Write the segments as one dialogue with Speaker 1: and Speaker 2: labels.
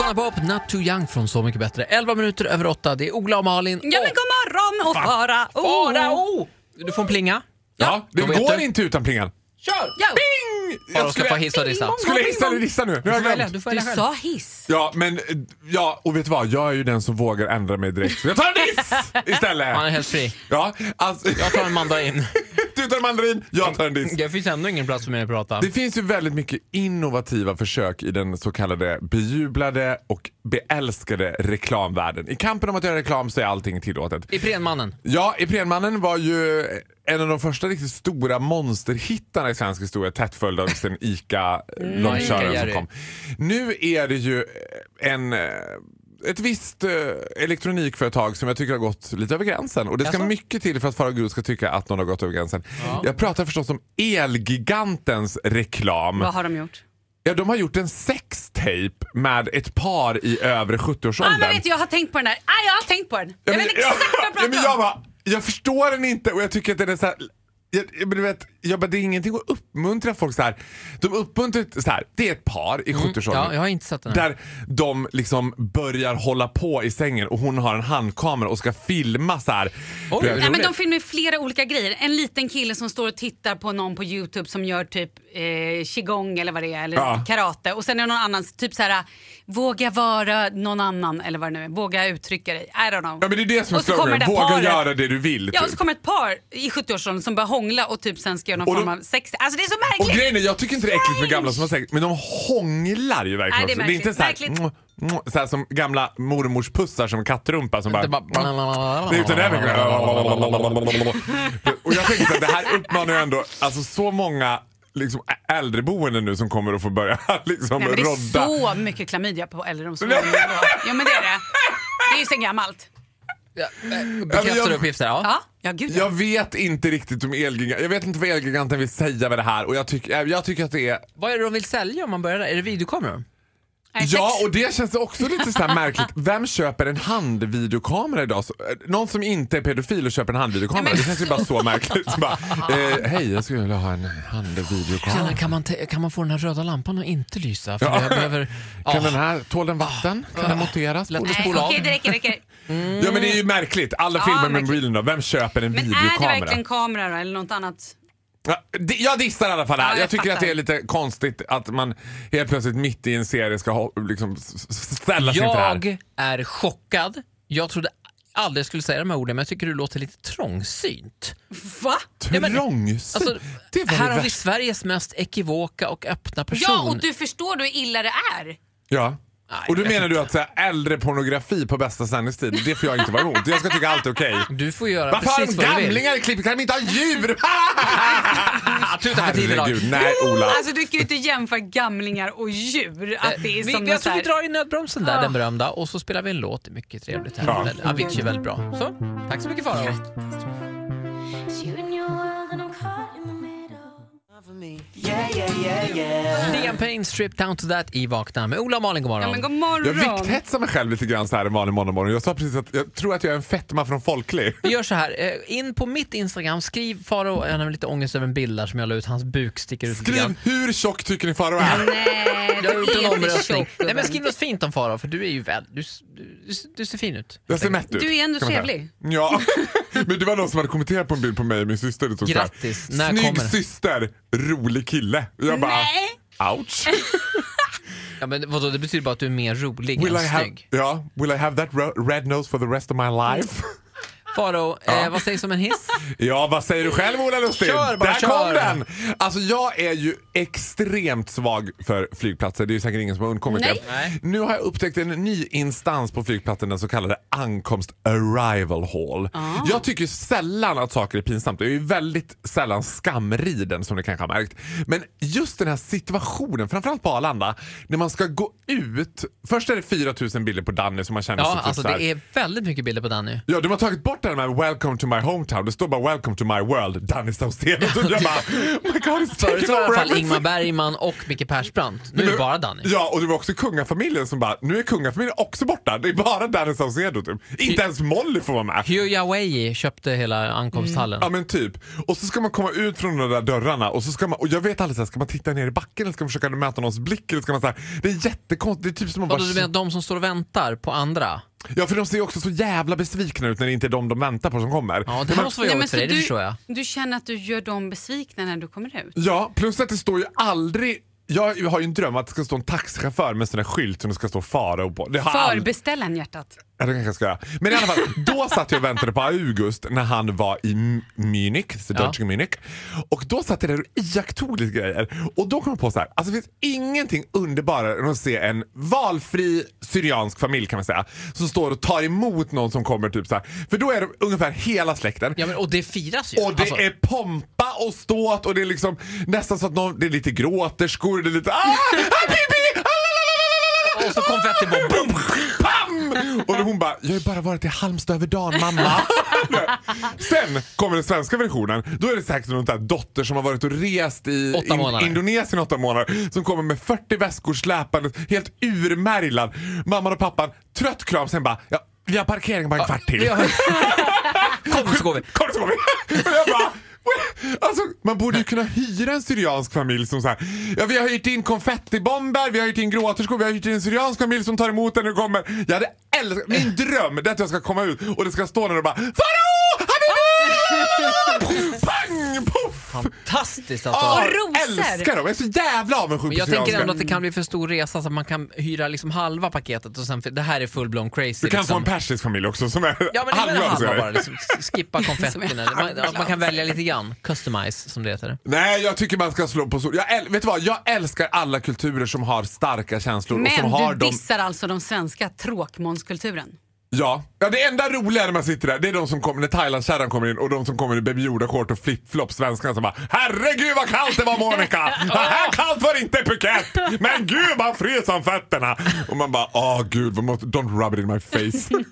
Speaker 1: Sanna Bob, Not Too Young från Så Mycket Bättre. 11 minuter över 8. Det är Ola och Malin.
Speaker 2: Ja men
Speaker 1: och...
Speaker 2: god morgon och fara oh.
Speaker 1: Fara, oh! Du får en plinga.
Speaker 3: Ja, det
Speaker 1: då vet
Speaker 3: går
Speaker 1: du.
Speaker 3: inte utan plingan.
Speaker 1: Kör!
Speaker 2: Ja.
Speaker 3: Bing!
Speaker 1: Fara
Speaker 3: Jag
Speaker 1: ska
Speaker 3: skulle,
Speaker 1: få hissa och dissa.
Speaker 3: skulle jag hissa eller dissa nu? Nu
Speaker 1: Du
Speaker 3: har
Speaker 1: får
Speaker 3: jag
Speaker 1: välja,
Speaker 3: glömt.
Speaker 1: du får
Speaker 2: Du
Speaker 1: välja själv.
Speaker 2: sa hiss.
Speaker 3: Ja, men eh, ja, och vet du vad? Jag är ju den som vågar ändra mig direkt. Så jag tar en diss istället.
Speaker 1: Han är helt fri.
Speaker 3: Ja, alltså,
Speaker 1: Jag tar en mandarin.
Speaker 3: du tar en mandarin, jag tar en diss.
Speaker 1: Det finns ändå ingen plats för mig att prata.
Speaker 3: Det finns ju väldigt mycket innovativa försök i den så kallade bejublade och beälskade reklamvärlden. I kampen om att göra reklam så är allting tillåtet.
Speaker 1: Iprenmannen.
Speaker 3: Ja, Iprenmannen var ju en av de första riktigt stora monsterhittarna i svensk historia tätt följd av sen ICA-långköraren
Speaker 1: Ica
Speaker 3: eh, som
Speaker 1: Jerry.
Speaker 3: kom. Nu är det ju en... eh, Ett visst eh, elektronikföretag som jag tycker har gått lite över gränsen. Och det ska
Speaker 1: Jaså?
Speaker 3: mycket till för att Farao Groth ska tycka att någon har gått över gränsen. Jag pratar förstås om Elgigantens reklam.
Speaker 2: Vad har de gjort?
Speaker 3: Ja, de har gjort en sextape med ett par i övre 70-årsåldern.
Speaker 2: Ah, men vet du, jag har tänkt på den där. Ah, jag har tänkt på den. Jag
Speaker 3: Ja,
Speaker 2: vet
Speaker 3: men-
Speaker 2: exakt vad
Speaker 3: ja,
Speaker 2: jag
Speaker 3: ja, men
Speaker 2: pratar
Speaker 3: jag
Speaker 2: om.
Speaker 3: bara, jag förstår den inte och jag tycker att den är så här, jag, jag, men du vet, jag bara, det är ingenting att uppmuntra folk så här. De uppmuntrar ett- så här, det är ett par i 70-årsåldern.
Speaker 1: Mm, Ja, jag har inte sett den. Här.
Speaker 3: Där de liksom börjar hålla på i sängen och hon har en handkamera och ska filma så här.
Speaker 1: Oj,
Speaker 3: Du
Speaker 1: vad
Speaker 3: vet,
Speaker 2: Nej, men
Speaker 1: roligt.
Speaker 2: de filmar ju flera olika grejer. En liten kille som står och tittar på någon på Youtube som gör typ eh, qigong eller vad det är, eller
Speaker 3: Ja.
Speaker 2: karate. Och sen är det någon annan, typ så här, våga vara någon annan eller vad det nu är. Våga uttrycka dig. I don't know.
Speaker 3: Ja men det är det som är
Speaker 2: Och så kommer
Speaker 3: sloganen,
Speaker 2: det där
Speaker 3: våga
Speaker 2: paret.
Speaker 3: göra det du vill.
Speaker 2: Ja, och
Speaker 3: typ.
Speaker 2: så kommer ett par i 70-årsåldern som börjar hångla och typ sen ska göra någon
Speaker 3: Och då-
Speaker 2: form av sex. Alltså det är så
Speaker 3: Och
Speaker 2: märkligt!
Speaker 3: grejen är, jag tycker inte det är äckligt med gamla som har sex, men de hånglar ju verkligen
Speaker 2: Nej, det är
Speaker 3: också. inte så här,
Speaker 2: märkligt.
Speaker 3: mm, mm, så här som gamla mormors pussar som kattrumpa som bara...
Speaker 1: Det bara-
Speaker 3: Det är utan det här verkligen- Och jag tänker så här, det här uppmanar ju ändå alltså, så många liksom, ä- äldreboenden nu som kommer att få börja liksom,
Speaker 2: Nej, men det är
Speaker 3: rodda.
Speaker 2: så mycket klamydia på äldreomsorgen. ja men det är det. Det är ju sen gammalt.
Speaker 1: Ja, eh,
Speaker 3: Ja, men
Speaker 1: Bekräftade
Speaker 3: jag-
Speaker 1: uppgifter, ja.
Speaker 2: Ja, ja gud ja.
Speaker 3: Jag vet inte riktigt om Elgiganten, jag vet inte vad Elgiganten vill säga med det här och jag, tycker- jag, jag tycker att det är
Speaker 1: Vad är det de vill sälja om man börjar där? Är det videokameror?
Speaker 2: Nej,
Speaker 3: Ja,
Speaker 2: sex.
Speaker 3: och det känns också lite så här märkligt. Vem köper en handvideokamera idag? Så- eh, Någon som inte är pedofil och köper en handvideokamera.
Speaker 2: Nej, men-
Speaker 3: Det känns ju bara så märkligt. Så bara, eh, Hej, jag skulle vilja ha en handvideokamera.
Speaker 1: Tjena, kan, man te- kan man få den här röda lampan att inte lysa? För jag behöver...
Speaker 3: Kan
Speaker 1: Ja.
Speaker 3: den här, tål den vatten? Kan den monteras?
Speaker 1: Lätt.
Speaker 3: Borde-
Speaker 2: Nej,
Speaker 1: spola av.
Speaker 2: okej, det räcker, det räcker.
Speaker 3: Ja men det är ju märkligt. Alla filmer med
Speaker 2: märkligt.
Speaker 3: mobilen då. Vem köper en
Speaker 2: Men är det
Speaker 3: videokamera?
Speaker 2: verkligen kamera då, eller något annat?
Speaker 3: Ja, di- Jag dissar i alla fall det här.
Speaker 2: Ja,
Speaker 3: jag,
Speaker 2: jag
Speaker 3: tycker att
Speaker 2: fattar.
Speaker 3: det är lite konstigt att man helt plötsligt mitt i en serie ska ha, liksom, s- s- ställa sig inför det här.
Speaker 1: Jag är chockad. Jag trodde aldrig jag skulle säga de här orden, men jag tycker du låter lite trångsynt.
Speaker 2: Va?
Speaker 1: Ja, men-
Speaker 3: Trångsyn.
Speaker 1: Alltså,
Speaker 3: det var
Speaker 1: här
Speaker 3: det
Speaker 1: har vi
Speaker 3: värsta.
Speaker 1: Sveriges mest ekivoka och öppna person.
Speaker 2: Ja, och du förstår då hur illa det är.
Speaker 3: Ja.
Speaker 1: Nej,
Speaker 3: och då
Speaker 1: jag vet
Speaker 3: menar du att så här, äldre pornografi på bästa sändningstid, det får jag inte vara emot. Jag ska tycka allt är okej.
Speaker 1: Du får göra
Speaker 3: Varför har de
Speaker 1: precis vad du vill.
Speaker 3: gamlingar i klippet? Kan de inte ha djur?
Speaker 1: Tuta för tid idag.
Speaker 3: Herregud, nej Ola.
Speaker 2: Alltså du kan ju inte jämföra gamlingar och djur. Att det är
Speaker 1: Eh, Vi,
Speaker 2: som
Speaker 1: jag
Speaker 2: något så
Speaker 1: tror vi
Speaker 2: här.
Speaker 1: drar i nödbromsen där,
Speaker 2: Ah.
Speaker 1: den berömda, och så spelar vi en låt. Det är mycket trevligt här.
Speaker 3: Ja.
Speaker 1: Den- Avicii är väldigt bra. Så, tack så mycket Farao.
Speaker 4: It's you and your world, and I'm caught in the middle.
Speaker 1: Liam Payne, Strip Down To That i Vakna med Ola och Malin, god
Speaker 2: Ja, men
Speaker 1: morgon.
Speaker 2: god
Speaker 3: Jag
Speaker 2: morgon.
Speaker 3: vikthetsar mig själv lite grann så här en vanlig måndagmorgon. Jag sa precis att jag tror att jag är en fetma från Folklig.
Speaker 1: Vi gör så här, eh, in på mitt Instagram, skriv Farao, han har lite ångest över en bild där som jag la ut, hans buk sticker ut lite grann.
Speaker 3: Skriv hur tjock tycker ni Farao är?
Speaker 2: Nej,
Speaker 1: Jag har gjort
Speaker 2: du
Speaker 1: en
Speaker 2: är
Speaker 1: omröstning.
Speaker 2: tjock,
Speaker 1: Nej, men
Speaker 2: gubben.
Speaker 1: skriv något fint om Farao för du är ju väl, du, du, du ser fin ut.
Speaker 3: Jag ser mätt ut.
Speaker 2: Du är ändå
Speaker 3: kan man säga.
Speaker 2: trevlig.
Speaker 3: Ja, men det var någon som hade kommenterat på en bild på mig och min syster. Det stod så här,
Speaker 1: Grattis, när
Speaker 3: Snygg
Speaker 1: kommer det?"
Speaker 3: syster, rolig kille. Jag bara,
Speaker 2: Nej.
Speaker 3: ouch.
Speaker 1: Ja, men vadå, det betyder bara att du är mer rolig
Speaker 3: Will
Speaker 1: än
Speaker 3: I, have,
Speaker 1: snygg.
Speaker 3: ja, will I have that ro- red nose for the rest of my life?
Speaker 1: Farao, eh, vad sägs om en hiss?
Speaker 3: Ja, vad säger du själv Ola Lustig?
Speaker 1: Kör bara,
Speaker 3: Där
Speaker 1: kör.
Speaker 3: kom den! Alltså jag är ju extremt svag för flygplatser. Det är ju säkert ingen som har undkommit
Speaker 2: Nej.
Speaker 3: det. Nu har jag upptäckt en ny instans på flygplatsen, den så kallade ankomst arrival hall. Jag tycker sällan att saker är pinsamt. Jag är ju väldigt sällan skamriden som ni kanske har märkt. Men just den här situationen, framförallt på Arlanda, när man ska gå ut. Först är det 4000 bilder på Danny som man känner sig
Speaker 1: Ja,
Speaker 3: typ
Speaker 1: alltså
Speaker 3: så här-
Speaker 1: det är väldigt mycket bilder på Danny.
Speaker 3: Ja, de har tagit bort den med Welcome to my hometown. Det står bara Welcome to my world, Danny Saucedo. Och jag bara, oh my god, it's
Speaker 1: Förut
Speaker 3: taken
Speaker 1: var det Typ i alla
Speaker 3: over
Speaker 1: fall
Speaker 3: everything.
Speaker 1: Ingmar Bergman och Micke Persbrandt. Nu är det bara Danny.
Speaker 3: Ja, och det var också kungafamiljen som bara, nu är kungafamiljen också borta. Det är bara Danny Saucedo typ. Inte ens Molly får vara med.
Speaker 1: Hugh Yawei köpte hela ankomsthallen.
Speaker 3: Ja men typ. Och så ska man komma ut från de där dörrarna och så ska man, och jag vet aldrig, så här, ska man titta ner i backen eller ska man försöka möta någons blick? Eller ska man så här, det är jättekonstigt, det är typ som att
Speaker 1: Vadå,
Speaker 3: bara...
Speaker 1: du menar de som står och väntar på andra?
Speaker 3: Ja för de ser ju också så jävla besvikna ut när det inte är de de väntar på som kommer.
Speaker 1: Ja, det måste vara
Speaker 2: Nej,
Speaker 1: jobbigt
Speaker 2: men
Speaker 1: för
Speaker 2: så
Speaker 1: dig, det förstår
Speaker 2: du,
Speaker 1: jag.
Speaker 2: du känner att du gör dem besvikna när du kommer ut?
Speaker 3: Ja, plus att det står ju aldrig... Jag har ju en dröm att det ska stå en taxichaufför med en sån där skylt som det ska stå Farao på. Det har aldrig-
Speaker 2: Förbeställaren hjärtat.
Speaker 3: Ja, det kanske jag ska göra. Men i alla fall, då satt jag och väntade på August när han var i M- Munich, så
Speaker 1: Ja.
Speaker 3: Deutsche Munich. Och då satt jag där och iakttog lite grejer. Och då kom jag på så här, alltså det finns ingenting underbarare än att se en valfri syriansk familj kan man säga, som står och tar emot någon som kommer typ så här. För då är det ungefär hela släkten.
Speaker 1: Ja, men, och det firas ju.
Speaker 3: Och det
Speaker 1: Alltså,
Speaker 3: är pompa och ståt och det är liksom nästan så att någon, det är lite gråterskor, det är lite ah, ah, pipi, ah, la, la, la, la, la, la,
Speaker 1: Och så konfetti bara,
Speaker 3: ah, boom, pam! Och då hon bara, jag har ju bara varit i Halmstad över dagen mamma. Sen kommer den svenska versionen, då är det säkert någon där dotter som har varit och rest i
Speaker 1: Åtta månader.
Speaker 3: Indonesien i åtta månader som kommer med 40 väskor släpande, helt urmärglad. Mamman och pappan, trött kram, sen bara, ja, vi har parkering bara en kvart till.
Speaker 1: Ja. Kom så går vi.
Speaker 3: Kom så går vi! Och jag bara, "What?" Alltså, man borde ju kunna hyra en syriansk familj som så här, ja vi har hyrt in konfettibomber, vi har hyrt in gråterskor, vi har hyrt in en syriansk familj som tar emot den när du kommer. Jag hade älskat, min dröm det är att jag ska komma ut och det ska stå där och bara Farao! Habibi! Pang! Poff!
Speaker 1: Fantastiskt alltså.
Speaker 3: Ja,
Speaker 2: Och rosor.
Speaker 3: älskar dem, jag är så jävla avundsjuk
Speaker 1: Men
Speaker 3: på Mm.
Speaker 1: jag tänker ändå
Speaker 3: syrianska.
Speaker 1: att det kan bli för stor resa så att man kan hyra liksom halva paketet och sen, för det här är full-blown crazy.
Speaker 3: Du kan
Speaker 1: liksom.
Speaker 3: få en persisk familj också som är
Speaker 1: Ja men det är väl
Speaker 3: halvglad,
Speaker 1: halva
Speaker 3: så jag är.
Speaker 1: bara, liksom, S- skippa konfettin.
Speaker 2: Som är
Speaker 1: eller- Man, ja,
Speaker 2: halvglad.
Speaker 1: man kan välja lite grann, customize som det heter.
Speaker 3: Nej, jag tycker man ska slå på sol. Jag, äl- vet du vad? jag älskar alla kulturer som har starka känslor och som
Speaker 2: Men
Speaker 3: har
Speaker 2: du
Speaker 3: dem
Speaker 2: dissar alltså den svenska tråkmånskulturen?
Speaker 3: Ja. ja, det enda roliga när man sitter där det är de som kommer, när Thailandskärran kommer in och de som kommer i Baby Yoda-short och flip-flops, svenskarna som bara Herregud vad kallt det var Monica! Det här kallt var inte Phuket! Men gud man frös om fötterna! Och man bara åh gud, vad måste, don't rub it in my face.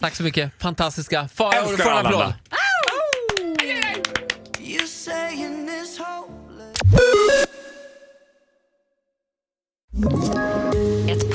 Speaker 1: Tack så mycket, fantastiska. Farao, du
Speaker 3: Älskar
Speaker 1: får en
Speaker 3: Arlanda.
Speaker 1: applåd.
Speaker 5: You're saying this hopeless.
Speaker 6: Ett